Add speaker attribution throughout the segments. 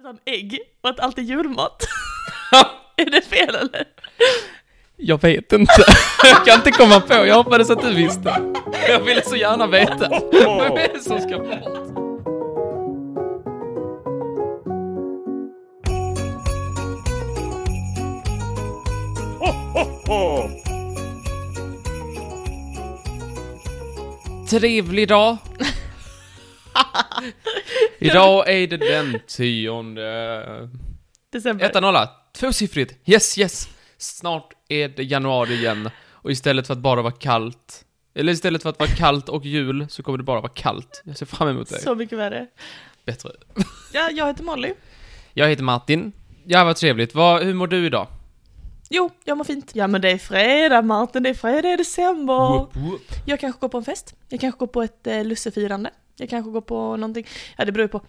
Speaker 1: utan ägg och att allt är julmat. är det fel eller?
Speaker 2: Jag vet inte. Jag kan inte komma på. Jag hoppades att du visste. Jag ville så gärna veta. Vem är det som ska bort? Trevlig dag. Idag är det den tionde...
Speaker 1: December.
Speaker 2: Ettan nolla. Tvåsiffrigt. Yes, yes. Snart är det januari igen. Och istället för att bara vara kallt, eller istället för att vara kallt och jul, så kommer det bara vara kallt. Jag ser fram emot det.
Speaker 1: Så mycket värre.
Speaker 2: Bättre.
Speaker 1: Ja, jag heter Molly.
Speaker 2: Jag heter Martin. Ja, vad trevligt. Vad, hur mår du idag?
Speaker 1: Jo, jag mår fint. Ja men det är fredag Martin, det är fredag i december.
Speaker 2: Whoop, whoop.
Speaker 1: Jag kanske går på en fest. Jag kanske går på ett eh, lussefirande. Jag kanske går på någonting. Ja det beror ju på.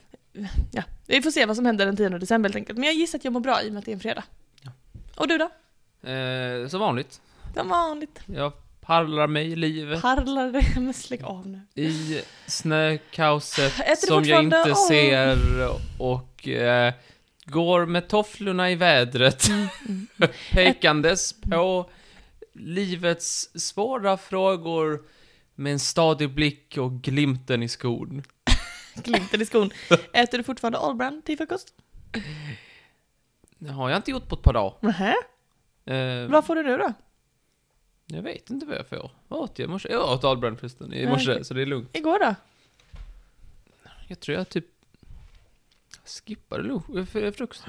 Speaker 1: Ja, vi får se vad som händer den 10 december helt enkelt. Men jag gissar att jag mår bra i och med att det är en fredag.
Speaker 2: Ja.
Speaker 1: Och du då?
Speaker 2: Eh, som vanligt.
Speaker 1: Som vanligt.
Speaker 2: Jag parlar mig i livet.
Speaker 1: Parlar det, men slägg av nu.
Speaker 2: I snökaoset
Speaker 1: Äter du
Speaker 2: som jag
Speaker 1: fortfarande-
Speaker 2: inte
Speaker 1: Åh.
Speaker 2: ser och eh, går med tofflorna i vädret
Speaker 1: Mm,
Speaker 2: pekandes på livets svåra frågor med en stadig blick och glimten i skon.
Speaker 1: Glimten i skon. Äter du fortfarande Allbrand till frukost?
Speaker 2: Det har jag inte gjort på ett par dagar.
Speaker 1: Nähä?
Speaker 2: Eh,
Speaker 1: Vad får du nu då?
Speaker 2: jag vet inte vad jag får. Vad åt jag i morse? Jag åt Ahlbrand förresten i morse,
Speaker 1: okej.
Speaker 2: så det är lugnt.
Speaker 1: Igår då?
Speaker 2: Jag tror jag typ skippade lunch, eh, fr- frukost.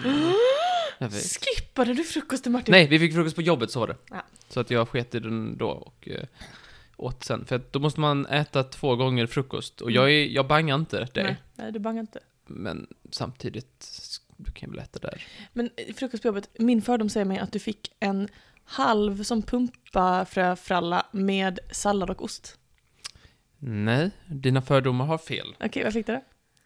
Speaker 2: Jag vet.
Speaker 1: Skippade du frukost till Martin?
Speaker 2: Nej, vi fick frukost på jobbet, så var det.
Speaker 1: Ja.
Speaker 2: Så att jag sket i den då och eh, åt sen. För att då måste man äta två gånger frukost. Och jag, är, jag bangar inte det.
Speaker 1: Mm. Nej, nej, du bangar inte.
Speaker 2: Men samtidigt, s- du kan ju väl äta där.
Speaker 1: Men eh, frukost på jobbet, min fördom säger mig att du fick en halv som pumpafröfralla med sallad och ost.
Speaker 2: Nej, dina fördomar har fel.
Speaker 1: Okej, vad fick du då?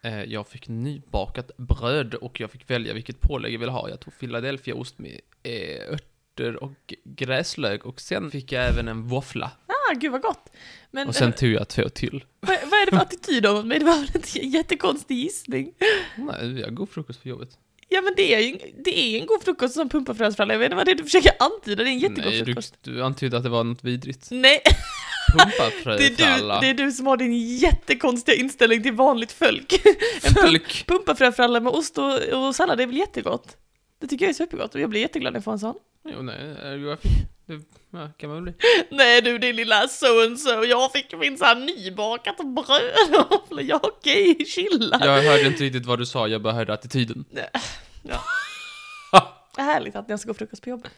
Speaker 2: Eh, jag fick nybakat bröd och jag fick välja vilket pålägg jag ville ha. Jag tog Philadelphiaost med eh, örter och gräslök. Och sen fick jag även en våffla.
Speaker 1: Ah, gud vad gott! Men
Speaker 2: Och sen tog jag två till.
Speaker 1: eh, vad, vad är det för attityd av mig? Det var väl inte en jättekonstig gissning?
Speaker 2: Nej, vi har god frukost på jobbet.
Speaker 1: Ja men det är ju en- det är en god frukost som pumpafröfralla, jag vet inte vad det är du försöker antyda, det är en jättegod
Speaker 2: Nej, du,
Speaker 1: frukost.
Speaker 2: du antydde att det var något vidrigt.
Speaker 1: Nej, det är, du,
Speaker 2: Pumpafröfralla.
Speaker 1: det är du som har din jättekonstiga inställning till vanligt folk. En pump-
Speaker 2: Folk.
Speaker 1: Pumpafröfralla med ost och, och sallad, det är väl jättegott? Det tycker jag är supergott och jag blir jätteglad när jag får en sån.
Speaker 2: Jo, nej, eh, jag fick... Det ja, kan man väl bli.
Speaker 1: Nej du din lilla so and so, jag fick minsann nybakat bröd och ja okej, chilla.
Speaker 2: Jag hörde inte riktigt vad du sa, jag bara hörde attityden.
Speaker 1: Härligt att jag ska gå frukost på jobbet.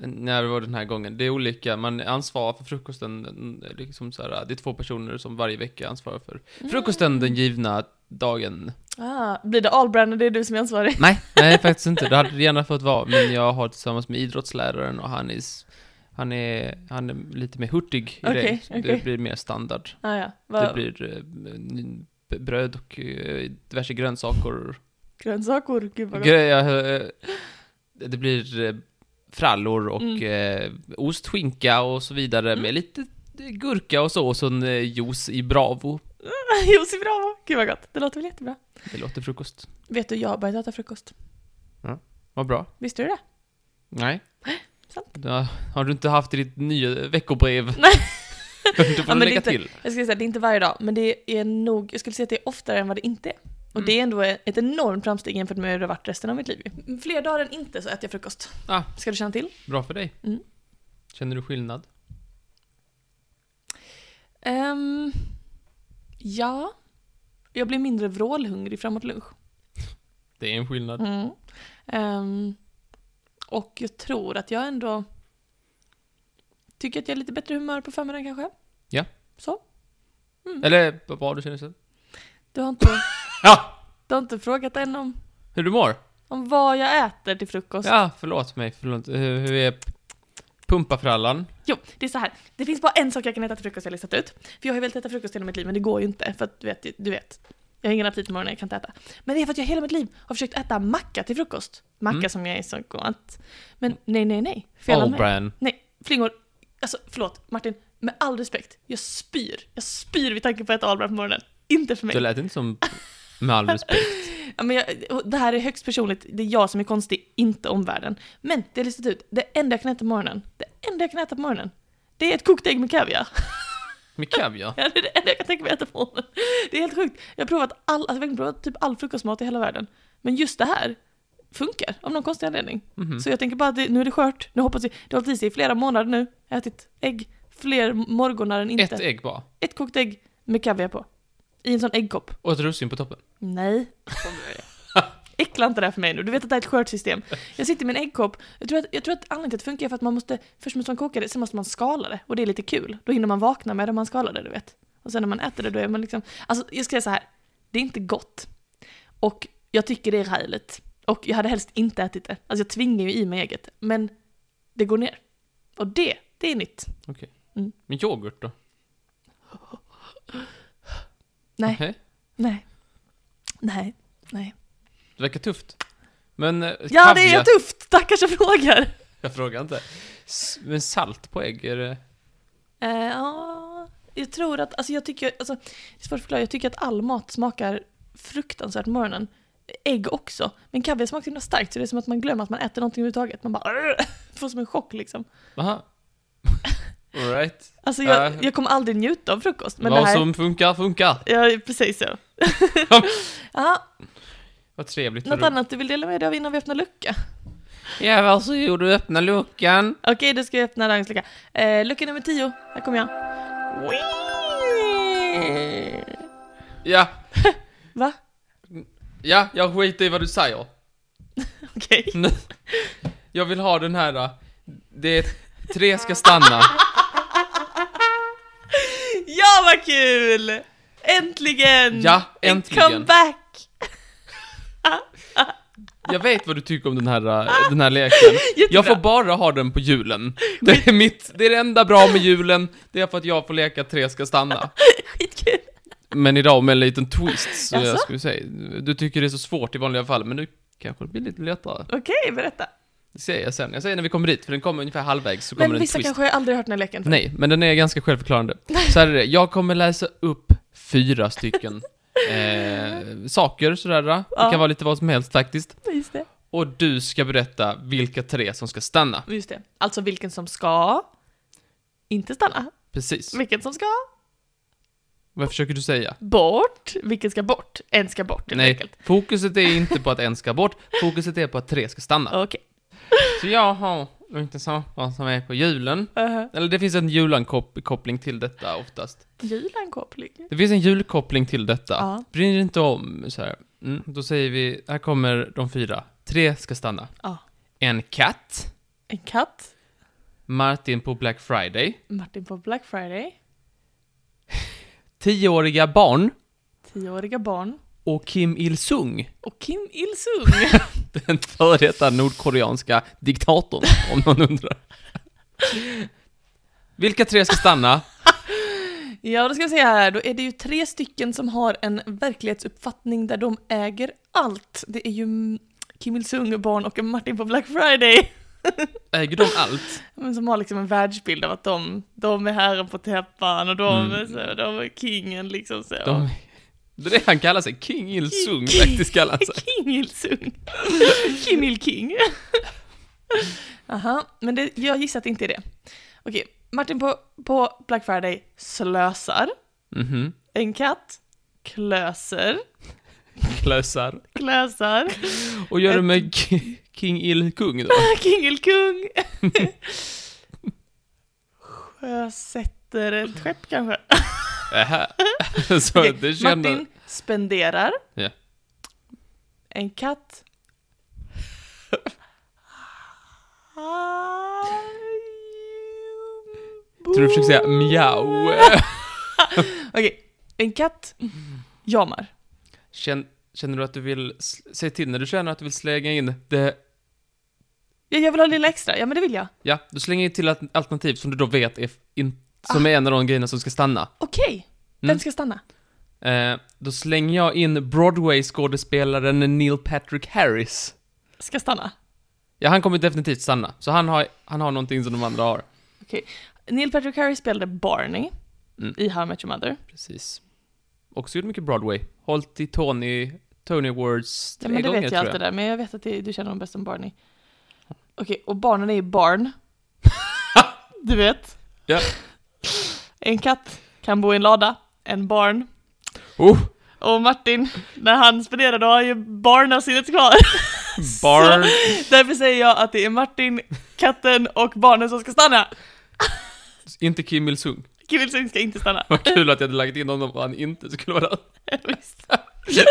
Speaker 2: När det var den här gången. Det är olika, man ansvarar för frukosten, eh, liksom så här, det är två personer som varje vecka ansvarar för Mm.
Speaker 1: Mm.
Speaker 2: frukosten den givna dagen.
Speaker 1: Ah, blir det Allbrand och det är du som är ansvarig?
Speaker 2: Nej, nej faktiskt inte. Det hade det gärna fått vara, men jag har tillsammans med idrottsläraren och han är, s- han är, han är lite mer hurtig i
Speaker 1: Okej,
Speaker 2: det. Så
Speaker 1: okej.
Speaker 2: Det blir mer standard.
Speaker 1: Ah, ja,
Speaker 2: Det
Speaker 1: vad
Speaker 2: blir eh, n- bröd och eh, diverse grönsaker.
Speaker 1: grönsaker, gud vad gott.
Speaker 2: Grejer, eh, det blir eh, frallor och
Speaker 1: Mm.
Speaker 2: eh, ost, skinka och så vidare med lite eh, gurka och så och så en eh, juice i Bravo.
Speaker 1: Josef Bravo, gud vad gott. Det låter väl jättebra.
Speaker 2: Det låter frukost.
Speaker 1: Vet du, jag har börjat äta frukost.
Speaker 2: Vad bra.
Speaker 1: Visste du det?
Speaker 2: Nej.
Speaker 1: sant.
Speaker 2: Ja, har du inte haft i ditt nya veckobrev?
Speaker 1: Nej.
Speaker 2: Då får
Speaker 1: men
Speaker 2: du
Speaker 1: det är
Speaker 2: lägga
Speaker 1: inte-
Speaker 2: till.
Speaker 1: Jag skulle säga att det är inte varje dag, men det är nog, jag skulle säga att det är oftare än vad det inte är. Och
Speaker 2: Mm.
Speaker 1: det är ändå ett enormt framsteg jämfört med hur det har varit resten av mitt liv. ju. Fler dagar än inte så äter jag frukost.
Speaker 2: Ah.
Speaker 1: Ska du känna till?
Speaker 2: Bra för dig.
Speaker 1: Mm.
Speaker 2: Känner du skillnad?
Speaker 1: Ehm, ja. Jag blir mindre vrålhungrig framåt lunch.
Speaker 2: Det är en skillnad.
Speaker 1: Mm. Ehm, och jag tror att jag ändå tycker att jag är lite bättre humör på förmiddagen kanske.
Speaker 2: Ja.
Speaker 1: Så. Mm.
Speaker 2: Eller vad bra du känner sen.
Speaker 1: Du har inte,
Speaker 2: Ja!
Speaker 1: du har inte frågat än om,
Speaker 2: Hur du mår?
Speaker 1: om vad jag äter till frukost.
Speaker 2: Ja, förlåt mig. Förlåt. Hur, hur är pumpafrallan?
Speaker 1: Jo, det är så här. Det finns bara en sak jag kan äta till frukost jag har listat ut. För jag har ju velat äta frukost hela mitt liv, men det går ju inte. För att du vet, du vet. Jag har ingen aptit på morgonen, jag kan inte äta. Men det är för att jag hela mitt liv har försökt äta macka till frukost. Macka
Speaker 2: Mm.
Speaker 1: som jag är så gott. Men nej, nej, nej. Fel av mig.
Speaker 2: Allbrand.
Speaker 1: Nej, flingor. Alltså förlåt, Martin. Med all respekt, jag spyr. Jag spyr vid tanken på att äta Ahlbrand på morgonen. Inte för mig.
Speaker 2: Det lät inte som Med all respekt.
Speaker 1: Ja, men jag, det här är högst personligt, det är jag som är konstig, inte omvärlden. Men det jag listat ut, det enda jag kan äta på morgonen, det enda jag kan äta på morgonen, det är ett kokt ägg med kaviar.
Speaker 2: Med kaviar.
Speaker 1: Ja, det är det enda jag kan tänka mig att äta på morgonen. Det är helt sjukt. Jag har provat all, alltså, jag har verkligen provat typ all frukostmat i hela världen. Men just det här funkar, av någon konstig anledning.
Speaker 2: Mhm.
Speaker 1: Så jag tänker bara att det, nu är det skört, nu hoppas vi, det har hållit i sig i flera månader nu, jag har ätit ägg fler morgnar än inte.
Speaker 2: Ett ägg bara.
Speaker 1: Ett kokt ägg med kaviar på. I en sån äggkopp.
Speaker 2: Och ett russin på toppen.
Speaker 1: Nej. Äckla inte det här för mig nu, du vet att det här är ett skört system. Jag sitter med en äggkopp, jag tror att, jag tror att anledningen till att det funkar är för att man måste, först måste man koka det, sen måste man skala det. Och det är lite kul, då hinner man vakna med det om man skalar det, du vet. Och sen när man äter det, då är man liksom, alltså jag ska säga så här, det är inte gott. Och jag tycker det är rejält. Och jag hade helst inte ätit det. Alltså jag tvingar ju i mig eget, men det går ner. Och det, det är nytt.
Speaker 2: Men yoghurt då?
Speaker 1: Nej.
Speaker 2: Okej.
Speaker 1: Nej. Nej. Nej.
Speaker 2: Det verkar tufft. Men eh,
Speaker 1: Ja, det är
Speaker 2: kaviar-
Speaker 1: tufft! Tackar som frågar!
Speaker 2: Jag frågar inte. S- Men salt på ägg, är det...
Speaker 1: Eh, Ja, jag tror att, alltså jag tycker, alltså, det är svårt att förklara, jag tycker att all mat smakar fruktansvärt på morgonen. Ägg också. Men kaviar smakar så himla starkt så det är som att man glömmer att man äter någonting överhuvudtaget. Man bara "Arr!" får som en chock liksom.
Speaker 2: Aha. Alright.
Speaker 1: Alltså jag,
Speaker 2: Äh.
Speaker 1: jag kommer aldrig njuta av frukost. Men
Speaker 2: Vad
Speaker 1: det här,
Speaker 2: som funkar, funkar.
Speaker 1: Ja, precis så. ja,
Speaker 2: Vad trevligt.
Speaker 1: något annat du vill dela med dig av innan vi öppnar lucka?
Speaker 2: Ja, varsågod och öppna luckan.
Speaker 1: Okej, då ska jag öppna dagens lucka. Eh, lucka nummer 10, här kommer jag.
Speaker 2: Ja,
Speaker 1: Va?
Speaker 2: ja, jag skiter i vad du säger.
Speaker 1: Okej.
Speaker 2: Nu. Jag vill ha den här. då. Det är tre ska stanna.
Speaker 1: Ja, vad kul! Äntligen!
Speaker 2: Ja, äntligen.
Speaker 1: En comeback!
Speaker 2: Jag vet vad du tycker om den här, äh, den här leken. Jag får bara ha den på julen. Det är mitt, det är det enda bra med julen. Det är för att jag får leka tre ska stanna.
Speaker 1: Skitkul!
Speaker 2: Men idag med en liten twist, så jag
Speaker 1: Jaså?
Speaker 2: skulle säga. Du tycker det är så svårt i vanliga fall, men nu kanske det blir lite lättare.
Speaker 1: Okej, berätta.
Speaker 2: Det säger jag sen. Jag säger när vi kommer dit, för den kommer ungefär halvvägs så kommer
Speaker 1: Men
Speaker 2: det en twist.
Speaker 1: vissa kanske aldrig hört den här leken förut.
Speaker 2: Nej, men den är ganska självförklarande. Så här är det, jag kommer läsa upp fyra stycken eh, saker sådär. Det
Speaker 1: Ja.
Speaker 2: kan vara lite vad som helst faktiskt.
Speaker 1: Just det.
Speaker 2: Och du ska berätta vilka tre som ska stanna.
Speaker 1: Just det. Alltså vilken som ska inte stanna,
Speaker 2: Precis.
Speaker 1: vilken som ska
Speaker 2: Vad försöker du säga?
Speaker 1: bort, vilken ska bort, en ska bort helt
Speaker 2: Nej,
Speaker 1: enkelt.
Speaker 2: fokuset är inte på att en ska bort, fokuset är på att tre ska stanna.
Speaker 1: Okej.
Speaker 2: Så jag har inte saker som är på julen.
Speaker 1: Uh-huh.
Speaker 2: Eller det finns en julankoppling till detta oftast.
Speaker 1: Julankoppling.
Speaker 2: Det finns en julkoppling till detta.
Speaker 1: Ja.
Speaker 2: Bryr dig inte om så här. Mm, då säger vi, här kommer de fyra. Tre ska stanna.
Speaker 1: Ja.
Speaker 2: En katt,
Speaker 1: En katt.
Speaker 2: Martin på Black Friday,
Speaker 1: Martin på Black Friday.
Speaker 2: tioåriga barn
Speaker 1: Tioåriga barn.
Speaker 2: och Kim Il-Sung,
Speaker 1: Och Kim Il-Sung.
Speaker 2: den före detta nordkoreanska diktatorn, om någon undrar. Vilka tre ska stanna?
Speaker 1: ja, då ska vi se här. Då är det ju tre stycken som har en verklighetsuppfattning där de äger allt. Det är ju mm, Kim Il-Sung, barn och Martin på Black Friday.
Speaker 2: Äger de allt?
Speaker 1: Men som har liksom en världsbild av att de, de är herren på täppan och de,
Speaker 2: Mm.
Speaker 1: är så, de är kingen liksom så.
Speaker 2: De, det är det han kallar sig, King Il-Sung
Speaker 1: King-
Speaker 2: faktiskt kallar han sig.
Speaker 1: King Alltså. Il-Sung. Kim Il-King. Aha, men det, jag gissar att det inte är det. Okej, Martin på, på Black Friday slösar.
Speaker 2: Mhm.
Speaker 1: En katt. Klöser.
Speaker 2: Klösar.
Speaker 1: Klösar.
Speaker 2: Och gör det med Ki- King Il-Kung då?
Speaker 1: King Il-Kung. Sjösätter ett skepp kanske.
Speaker 2: Ähä. Så
Speaker 1: Okej,
Speaker 2: det kände...
Speaker 1: Martin spenderar.
Speaker 2: Ja.
Speaker 1: En katt.
Speaker 2: Tror du försöker säga miau?
Speaker 1: Okej, en katt jamar.
Speaker 2: Känn, känner du att du vill... sl- Säg till när du känner att du vill slänga in det...
Speaker 1: Ja, jag vill ha lilla extra, ja men det vill jag.
Speaker 2: Ja, du slänger in till ett alternativ som du då vet är f- in, som är en av de grejerna som ska stanna.
Speaker 1: Okej,
Speaker 2: Mm.
Speaker 1: vem ska stanna?
Speaker 2: Eh, då slänger jag in Broadway-skådespelaren Neil Patrick Harris.
Speaker 1: Ska stanna.
Speaker 2: Ja, han kommer definitivt stanna. Så han har, han har någonting som de andra har.
Speaker 1: Neil Patrick Harris spelade Barney
Speaker 2: Mm.
Speaker 1: i How I Met Your Mother.
Speaker 2: Precis. också gjort mycket Broadway. Hållit i Tony, Tony Awards
Speaker 1: Ja,
Speaker 2: tre
Speaker 1: men det
Speaker 2: gånger
Speaker 1: vet jag
Speaker 2: tror
Speaker 1: allt det där, men jag vet att det, du känner dem bäst som Barney. Okej, och barnen är ju barn. du vet.
Speaker 2: Ja.
Speaker 1: En katt kan bo i en lada, en barn.
Speaker 2: Oh,
Speaker 1: Och Martin, när han spenderade har han ju barnasinnet kvar.
Speaker 2: barn.
Speaker 1: Därför säger jag att det är Martin, katten och barnen som ska stanna.
Speaker 2: Inte Kim Il-Sung.
Speaker 1: Kim Il-Sung ska inte stanna.
Speaker 2: Vad kul att jag hade lagt in honom och han inte skulle vara där.
Speaker 1: Visst.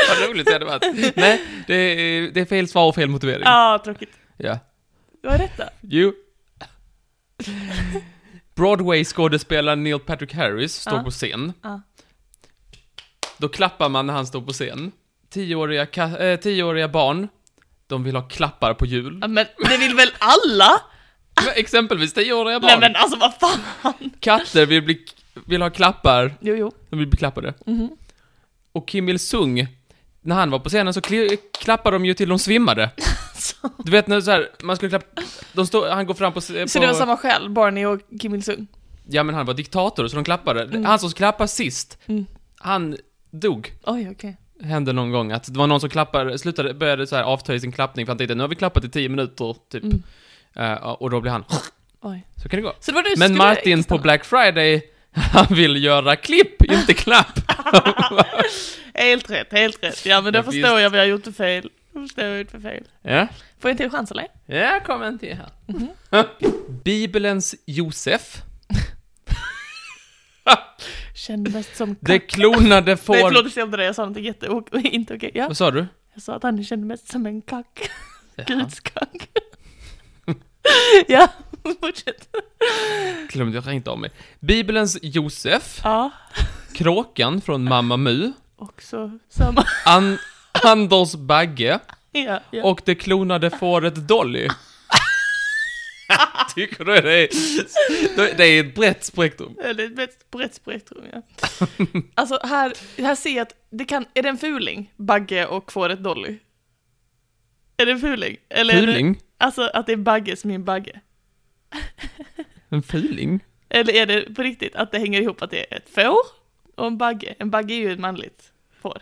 Speaker 2: Vad roligt det hade varit. Nej, det är, det är fel svar och fel motivering.
Speaker 1: Ja, ah, tråkigt.
Speaker 2: Ja.
Speaker 1: Du har rätt då.
Speaker 2: Jo. Broadway-skådespelaren Neil Patrick Harris står
Speaker 1: Ja.
Speaker 2: på scen.
Speaker 1: Ja.
Speaker 2: Då klappar man när han står på scen. Tioåriga, ka- eh, tioåriga barn, de vill ha klappar på jul.
Speaker 1: Ja, men det vill väl alla?
Speaker 2: Men Exempelvis tioåriga
Speaker 1: Nej
Speaker 2: barn.
Speaker 1: men alltså vad fan!
Speaker 2: Katter vill, bli, vill ha klappar,
Speaker 1: Jo, jo.
Speaker 2: de vill bli klappade.
Speaker 1: Mhm.
Speaker 2: Och Kim Il-Sung, när han var på scenen så kli- klappade de ju till de svimmade.
Speaker 1: Så,
Speaker 2: Du vet när så här, man skulle klappa, de står, han går fram på... på
Speaker 1: så det var samma skäl, Barney och Kim Il-Sung?
Speaker 2: Ja men han var diktator, så de klappade.
Speaker 1: Mm.
Speaker 2: Han som klappade sist,
Speaker 1: Mm.
Speaker 2: han dog.
Speaker 1: Oj, okej.
Speaker 2: Hände någon gång att det var någon som klappade, slutade, började så här avta i sin klappning för han tänkte nu har vi klappat i tio minuter, typ.
Speaker 1: Mm.
Speaker 2: Eh, och då blir han,
Speaker 1: Oj.
Speaker 2: så kan det gå.
Speaker 1: Så det var du som
Speaker 2: Men
Speaker 1: skulle
Speaker 2: Martin
Speaker 1: inte
Speaker 2: på
Speaker 1: stanna.
Speaker 2: Black Friday, han vill göra klipp, inte klapp.
Speaker 1: Helt rätt, helt rätt. Ja men då
Speaker 2: Ja,
Speaker 1: förstår
Speaker 2: visst.
Speaker 1: jag vad jag gjort för fel. Då förstår jag vad jag gjort för fel.
Speaker 2: Ja,
Speaker 1: Får jag en till chans eller?
Speaker 2: ja kom en till här. Bibelns Josef,
Speaker 1: Känner mest som katt.
Speaker 2: det klonade
Speaker 1: Nej
Speaker 2: får...
Speaker 1: förlåt, jag stämde det. Jag sa något jätte... och- och inte okej. Ja.
Speaker 2: Vad sa du?
Speaker 1: Jag sa att han kände mest som en kack.
Speaker 2: Ja,
Speaker 1: Guds kack. ja, fortsätt.
Speaker 2: glömde jag inte av mig. Bibelns Josef,
Speaker 1: Ja,
Speaker 2: kråkan från Mamma Mu,
Speaker 1: också samma.
Speaker 2: An Anders Bagge
Speaker 1: Ja, ja.
Speaker 2: och det klonade fåret Dolly. Tycker du det är, det är ett brett spektrum?
Speaker 1: Eller ett brett- brett spektrum, ja. Alltså här, här ser jag att det kan, är det en fuling? Bagge och fåret Dolly? Är det en fuling? Eller är det-
Speaker 2: Fuling?
Speaker 1: Alltså att det är Bagge som är en bagge.
Speaker 2: En fuling?
Speaker 1: Eller är det på riktigt att det hänger ihop att det är ett får och en bagge? En bagge är ju ett manligt får.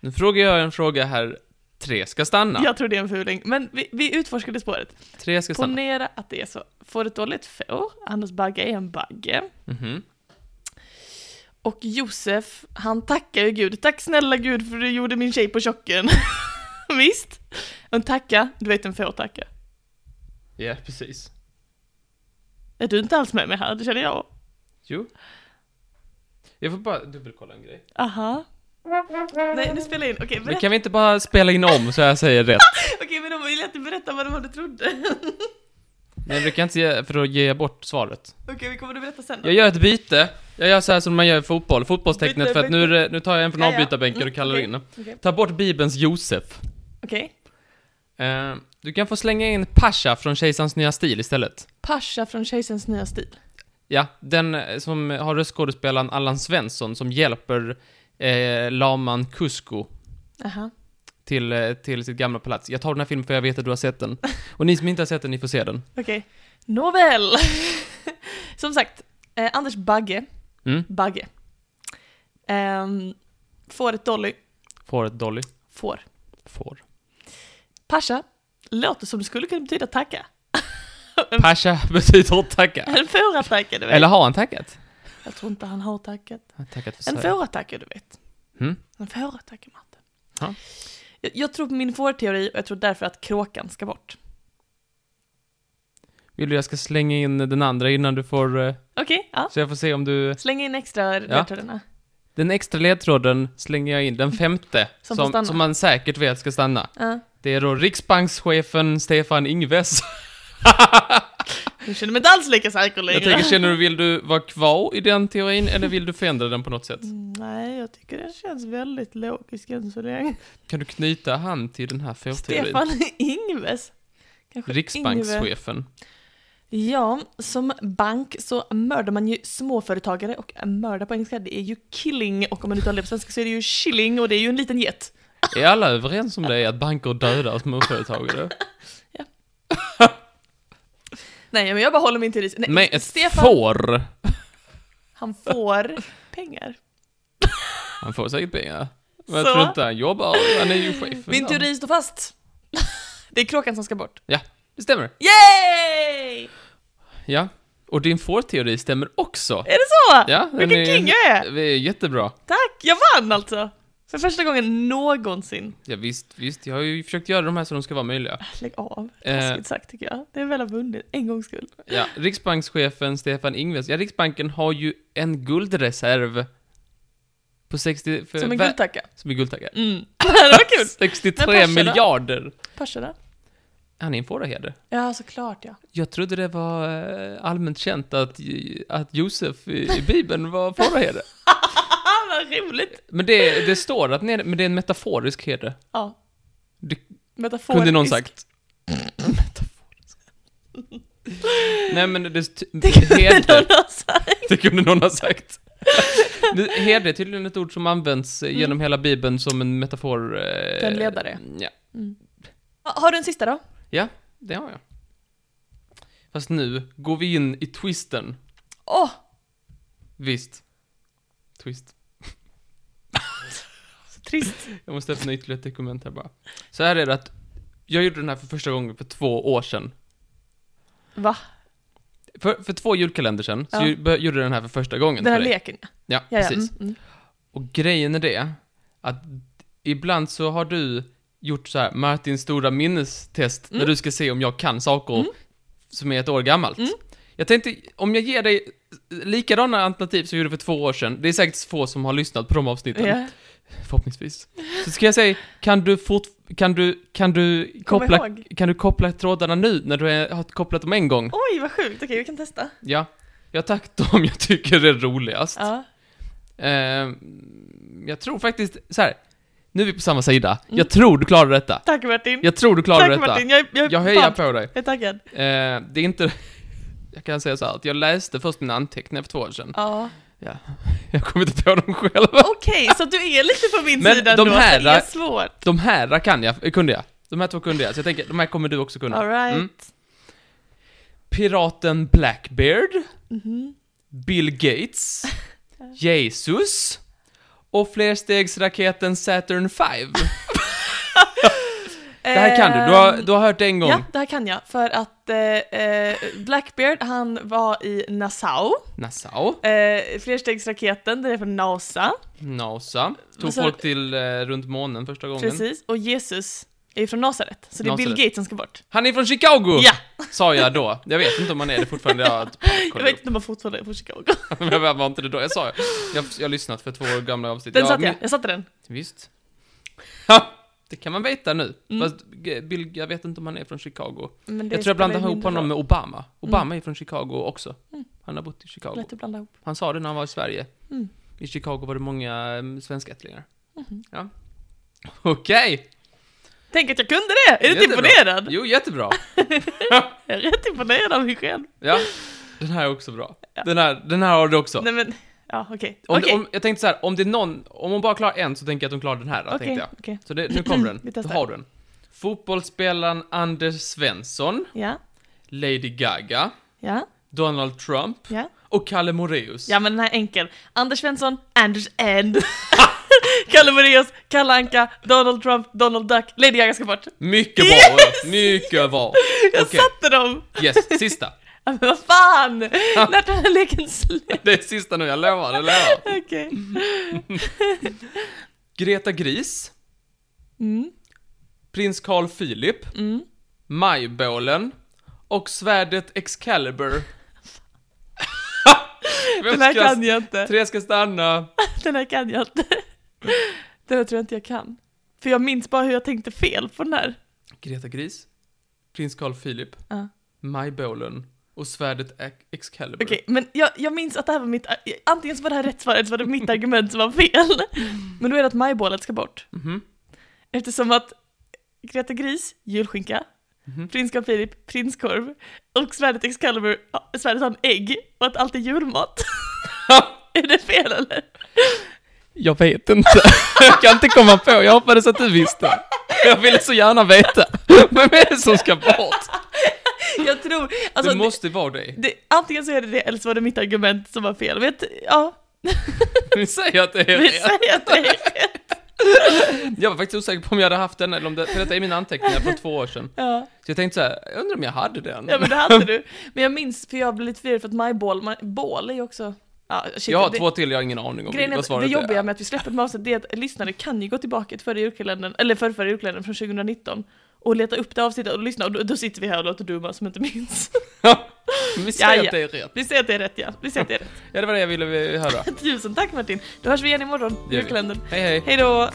Speaker 2: Nu frågar jag en fråga här. Tre ska stanna.
Speaker 1: Jag tror det är en fuling, men vi, vi utforskade spåret.
Speaker 2: Tre ska stanna.
Speaker 1: Ponera att det är så. Fåret Dolly är ett får, Anders Bagge är en bagge.
Speaker 2: Mhm.
Speaker 1: Och Josef, han tackar ju Gud. Tack snälla Gud för du gjorde min tjej på chocken. Visst? En tacka, du vet en får tacka.
Speaker 2: Ja, precis.
Speaker 1: Är du inte alls med mig här? Det känner jag.
Speaker 2: Jo. Jag får bara dubbelkolla en grej.
Speaker 1: Aha. Nej, nu spelar jag in. Okej,
Speaker 2: Men
Speaker 1: berätta.
Speaker 2: kan vi inte bara spela in om så jag säger rätt?
Speaker 1: Okej, men de vill jag inte berätta vad det var du trodde.
Speaker 2: Nej, det kan jag inte ge, för då ger jag bort svaret.
Speaker 1: Okej, vi kommer att berätta sen. då.
Speaker 2: Jag gör ett byte. Jag gör så här som man gör i fotboll, fotbollstecknet,
Speaker 1: Byte,
Speaker 2: för att nu, är det- nu tar jag en från
Speaker 1: Ja, ja.
Speaker 2: avbytarbänken och
Speaker 1: Mm,
Speaker 2: kallar
Speaker 1: okej.
Speaker 2: in den.
Speaker 1: Okej.
Speaker 2: Ta bort Bibelns Josef.
Speaker 1: Okej.
Speaker 2: Eh, du kan få slänga in Pasha från Kejsarens nya stil istället.
Speaker 1: Pasha från Kejsarens nya stil.
Speaker 2: Ja, den eh, som har röstskådespelaren Allan Svensson som hjälper eh, laman Kusko
Speaker 1: Aha.
Speaker 2: till, eh, till sitt gamla palats. Jag tar den här filmen för jag vet att du har sett den. Och ni som inte har sett den, ni får se den.
Speaker 1: Okej. Nåväl! Som sagt, eh, Anders Bagge,
Speaker 2: Mm,
Speaker 1: Bagge. Ehm, fåret Dolly,
Speaker 2: fåret Dolly.
Speaker 1: får.
Speaker 2: Får.
Speaker 1: Pasha låter som det skulle kunna betyda tacka.
Speaker 2: Pasha betyder tacka.
Speaker 1: En fårattacka, du vet.
Speaker 2: Eller har han tackat?
Speaker 1: Jag tror inte han har tackat.
Speaker 2: Han har tackat för
Speaker 1: En
Speaker 2: sig.
Speaker 1: fårattacka, du vet.
Speaker 2: Mm.
Speaker 1: En fårattacka, matte.
Speaker 2: Ja.
Speaker 1: Jag, jag tror på min fårteori och jag tror därför att kråkan ska bort.
Speaker 2: Vill du jag ska slänga in den andra innan du får... eh,
Speaker 1: Okej, ja.
Speaker 2: Så jag får se om du...
Speaker 1: Släng in extra ledtrådarna.
Speaker 2: Den extra ledtråden slänger jag in, den femte,
Speaker 1: Som
Speaker 2: som,
Speaker 1: får
Speaker 2: som,
Speaker 1: stanna.
Speaker 2: man säkert vet ska stanna.
Speaker 1: Ja.
Speaker 2: Det är då riksbankschefen Stefan Ingves.
Speaker 1: Jag känner mig inte alls lika säker längre.
Speaker 2: Jag tänker, känner du, vill du vara kvar i den teorin eller vill du förändra den på något sätt?
Speaker 1: Mm, Nej, jag tycker den känns väldigt logisk än så länge.
Speaker 2: Kan du knyta han till den här fårteorin?
Speaker 1: Stefan Ingves. Kanske Ingve.
Speaker 2: Riksbankschefen.
Speaker 1: Ja, som bank så mördar man ju småföretagare och mörda på engelska det är ju killing och om man uttalar det på svenska så är det ju chilling och det är ju en liten get.
Speaker 2: Är alla överens om det, att banker dödar småföretagare?
Speaker 1: Nej men jag bara håller min teori. Nej,
Speaker 2: Men ett
Speaker 1: Stefan,
Speaker 2: får!
Speaker 1: han får pengar.
Speaker 2: Han får säkert pengar. Men jag
Speaker 1: Så?
Speaker 2: tror inte han jobbar, han är ju chef.
Speaker 1: Min teori står fast. det är kråkan som ska bort.
Speaker 2: Det stämmer.
Speaker 1: Yay!
Speaker 2: Ja. Och din fårteori stämmer också.
Speaker 1: Är det så?
Speaker 2: Ja, den
Speaker 1: Vilken
Speaker 2: är-
Speaker 1: king jag är!
Speaker 2: Det är jättebra.
Speaker 1: Tack! Jag vann alltså! För första gången någonsin.
Speaker 2: Ja, visst, visst. Jag har ju försökt göra de här så de ska vara möjliga.
Speaker 1: Lägg av.
Speaker 2: Eh.
Speaker 1: Taskigt sagt tycker jag. Det är väl att ha vunnit, en gångs skull.
Speaker 2: Ja, Riksbankschefen Stefan Ingves. Ja, Riksbanken har ju en guldreserv på 60... För,
Speaker 1: Som en
Speaker 2: vä-
Speaker 1: guldtacka.
Speaker 2: Som en guldtacka.
Speaker 1: Mm. det var kul!
Speaker 2: 63
Speaker 1: Men Pasha då?
Speaker 2: miljarder!
Speaker 1: Pascha då?
Speaker 2: Han är en fåraherde.
Speaker 1: Ja, såklart ja.
Speaker 2: Jag trodde det var eh, allmänt känt att, att Josef i i Bibeln var fåraherde.
Speaker 1: Ah, vad roligt!
Speaker 2: Men det, det står att nere, men det är en metaforisk herde.
Speaker 1: Ja.
Speaker 2: Det
Speaker 1: Metaforisk.
Speaker 2: kunde någon sagt. metaforisk. Nej men det...
Speaker 1: Det kunde
Speaker 2: herde.
Speaker 1: någon ha sagt.
Speaker 2: Det kunde någon ha sagt. Nu, Herde är tydligen ett ord som används eh, genom hela bibeln som en metafor... eh,
Speaker 1: Mm. För en ledare.
Speaker 2: Ja,
Speaker 1: Ha- Har du en sista då?
Speaker 2: det har jag. Fast nu går vi in i twisten.
Speaker 1: Åh!
Speaker 2: Visst. Twist.
Speaker 1: så trist.
Speaker 2: Jag måste öppna ytterligare ett dokument här bara. Så här är det att jag gjorde den här för första gången för två år sedan.
Speaker 1: Va?
Speaker 2: För, för två julkalender sedan så
Speaker 1: Ja.
Speaker 2: ju- bör- gjorde jag den här för första gången.
Speaker 1: Den här
Speaker 2: för dig.
Speaker 1: leken ja.
Speaker 2: Ja,
Speaker 1: ja, ja.
Speaker 2: precis.
Speaker 1: Mm, mm.
Speaker 2: Och grejen är det att ibland så har du gjort så här Martins stora minnestest när
Speaker 1: Mm.
Speaker 2: du ska se om jag kan saker
Speaker 1: Mm.
Speaker 2: som är ett år gammalt.
Speaker 1: Mm.
Speaker 2: Jag tänkte, om jag ger dig likadana alternativ som jag gjorde för två år sedan, det är säkert få som har lyssnat på de avsnitten,
Speaker 1: Ja.
Speaker 2: förhoppningsvis. Så ska jag säga, kan du fort, kan du, kan du
Speaker 1: Kom
Speaker 2: koppla,
Speaker 1: ihåg.
Speaker 2: kan du koppla trådarna nu när du är, har kopplat dem en gång?
Speaker 1: Oj, vad sjukt. Okej, vi kan testa.
Speaker 2: Ja. Jag tagit dem jag tycker är roligast.
Speaker 1: Ja.
Speaker 2: Eh, jag tror faktiskt, så här. nu är vi på samma sida.
Speaker 1: Mm.
Speaker 2: Jag tror du klarar detta.
Speaker 1: Tack Martin.
Speaker 2: Jag tror du klarar
Speaker 1: Tack
Speaker 2: detta.
Speaker 1: Martin. Jag, är- jag, är
Speaker 2: Jag hejar
Speaker 1: pumped.
Speaker 2: på dig.
Speaker 1: Jag är taggad.
Speaker 2: Eh, det är inte... Jag kan säga så här, att jag läste först mina anteckningar för två år sedan.
Speaker 1: Ja.
Speaker 2: Jag kom inte på dem själv.
Speaker 1: Okej, så du är lite på min
Speaker 2: Men
Speaker 1: sida
Speaker 2: de
Speaker 1: ändå.
Speaker 2: här-
Speaker 1: Det är svårt.
Speaker 2: De här kan jag, eh, kunde jag. De här två kunde jag, så jag tänker, de här kommer du också kunna.
Speaker 1: Alright.
Speaker 2: Mm. Piraten Blackbeard,
Speaker 1: Mhm.
Speaker 2: Bill Gates, Jesus och flerstegsraketen Saturn 5. Det här kan du, du har,
Speaker 1: Ehm,
Speaker 2: du har hört det en gång.
Speaker 1: Ja, det här kan jag. För att eh, eh, Blackbeard, han var i Nassau.
Speaker 2: Nassau,
Speaker 1: Eh, flerstegsraketen, det är från NASA.
Speaker 2: Nasa, tog
Speaker 1: Vad sa
Speaker 2: folk till eh, runt månen första gången.
Speaker 1: Alltså- Precis. Och Jesus är ju från Nasaret. Så det är Bill
Speaker 2: Nasaret.
Speaker 1: Gates som ska bort.
Speaker 2: Han är från Chicago!
Speaker 1: Ja!
Speaker 2: Sa jag då. Jag vet inte om han är det fortfarande. Jag,
Speaker 1: Jag vet inte om man fortfarande är från Chicago.
Speaker 2: Men jag var inte det då. Jag sa jag, jag har lyssnat för två år gamla avsnitt.
Speaker 1: Den
Speaker 2: Ja,
Speaker 1: satte
Speaker 2: men-
Speaker 1: jag. Jag satte den.
Speaker 2: Visst. Ha, det kan man veta nu.
Speaker 1: Mm.
Speaker 2: Fast G- Bill, jag vet inte om han är från Chicago.
Speaker 1: Men det
Speaker 2: Jag tror jag blandar
Speaker 1: spelar
Speaker 2: ihop
Speaker 1: mindre
Speaker 2: honom
Speaker 1: roll.
Speaker 2: med Obama. Obama är från Chicago också.
Speaker 1: Mm.
Speaker 2: Han har bott i Chicago.
Speaker 1: Lätt att blanda ihop.
Speaker 2: Han sa det när han var i Sverige.
Speaker 1: Mm.
Speaker 2: I Chicago var det många um, svenskättlingar.
Speaker 1: Mhm.
Speaker 2: Ja. Okej!
Speaker 1: Tänk att jag kunde det! Är du inte
Speaker 2: Jättebra.
Speaker 1: imponerad?
Speaker 2: Jo, jättebra.
Speaker 1: Jag är rätt imponerad av mig själv.
Speaker 2: Ja, den här är också bra.
Speaker 1: Ja.
Speaker 2: Den, här, den här har du också.
Speaker 1: Nej men, ja okej.
Speaker 2: Om,
Speaker 1: Okej,
Speaker 2: om, jag tänkte så här, om det är någon, om hon bara klarar en så tänker jag att hon klarar den här,
Speaker 1: okej,
Speaker 2: tänkte jag.
Speaker 1: okej.
Speaker 2: Så det, nu kommer
Speaker 1: Vi
Speaker 2: den. Då
Speaker 1: testar.
Speaker 2: har du den. Fotbollsspelaren Anders Svensson,
Speaker 1: Ja,
Speaker 2: Lady Gaga,
Speaker 1: ja,
Speaker 2: Donald Trump
Speaker 1: ja.
Speaker 2: och Kalle Moreus.
Speaker 1: Ja men den här är enkel. Anders Svensson, Anders End. Kalle Moraeus, Kalle Anka, Donald Trump, Donald Duck, Lady Gaga ska bort.
Speaker 2: Mycket bra,
Speaker 1: Yes!
Speaker 2: mycket bra.
Speaker 1: Jag
Speaker 2: Okej.
Speaker 1: satte dem!
Speaker 2: Yes, sista.
Speaker 1: Ja, Men vad fan! När tar den här leken slut?
Speaker 2: Det är sista nu, jag lovar, jag lovar.
Speaker 1: Okej.
Speaker 2: Greta Gris,
Speaker 1: Mm,
Speaker 2: Prins Carl Philip,
Speaker 1: mm.
Speaker 2: Majbålen och svärdet Excalibur. Vem
Speaker 1: Den här
Speaker 2: ska-
Speaker 1: kan jag inte.
Speaker 2: Tre ska stanna.
Speaker 1: Den här kan jag inte. Den här tror jag inte jag kan. För jag minns bara hur jag tänkte fel på den här.
Speaker 2: Greta Gris, Prins Carl Philip,
Speaker 1: Ja.
Speaker 2: Majbålen och svärdet Ac- Excalibur.
Speaker 1: Okej, men jag, jag minns att det här var mitt, antingen så var det här rätt svar eller så var det mitt argument som var fel.
Speaker 2: Mm.
Speaker 1: Men då är det att majbålet ska bort.
Speaker 2: Mhm.
Speaker 1: Eftersom att Greta Gris, julskinka,
Speaker 2: Mhm.
Speaker 1: prins Carl Philip, prinskorv och svärdet Excalibur, ja, svärdet har en ägg och att allt är julmat. är det fel eller?
Speaker 2: Jag vet inte. Jag kan inte komma på. Jag hoppades att du visste. Jag ville så gärna veta. Vem är det som ska bort?
Speaker 1: Jag tror, alltså,
Speaker 2: det måste vara dig.
Speaker 1: det, antingen så är det det eller så var det mitt argument som var fel. Vet, ja,
Speaker 2: Vi säger att det är
Speaker 1: Vi
Speaker 2: rätt.
Speaker 1: säger att det är rätt.
Speaker 2: Jag var faktiskt osäker på om jag hade haft den eller om det, för detta är mina anteckningar från två år sedan.
Speaker 1: Ja.
Speaker 2: Så jag tänkte så här, jag undrar om jag hade den.
Speaker 1: ja, men det hade du. Men jag minns, för jag blev lite förvirrad för att my ball, my ball är ju också... Ja, shit,
Speaker 2: jag har
Speaker 1: det,
Speaker 2: två till, jag har ingen aning om
Speaker 1: Grejen är
Speaker 2: vad
Speaker 1: att det
Speaker 2: svaret
Speaker 1: jobbiga
Speaker 2: är.
Speaker 1: med att vi släpper ett avsnitt det är att lyssnare kan ju gå tillbaka till förra julkalendern, eller förra, förra julkalendern från 2019 och leta upp det avsnittet och lyssna och då, då sitter vi här och låter dumma som inte minns.
Speaker 2: Men Vi säger
Speaker 1: Ja, ja.
Speaker 2: att det är rätt.
Speaker 1: Vi säger att det är rätt ja, vi säger att det är rätt.
Speaker 2: Ja, det var det jag ville eh, höra.
Speaker 1: Tusen tack Martin, då hörs vi igen imorgon,
Speaker 2: vi.
Speaker 1: julkalendern.
Speaker 2: Hej, hej.
Speaker 1: Hej då!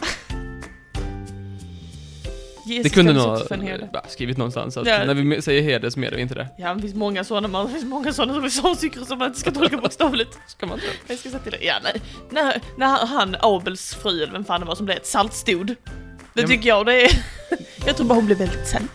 Speaker 1: Jesus
Speaker 2: Det kunde
Speaker 1: kallades
Speaker 2: nog
Speaker 1: också för en herde.
Speaker 2: eh, skrivit någonstans att
Speaker 1: Ja.
Speaker 2: när vi säger heder så menar vi inte det.
Speaker 1: Ja, det finns många sådana, man, det finns många sådana som är sångsynkor som man inte ska tolka bokstavligt.
Speaker 2: Ska man inte?
Speaker 1: Jag ska säga till dig, ja nej. När, när han- han, Abels fru eller vem fan det var som blev ett saltstod. Det
Speaker 2: Ja, men-
Speaker 1: tycker jag, det är... Jag tror bara hon blev väldigt sen.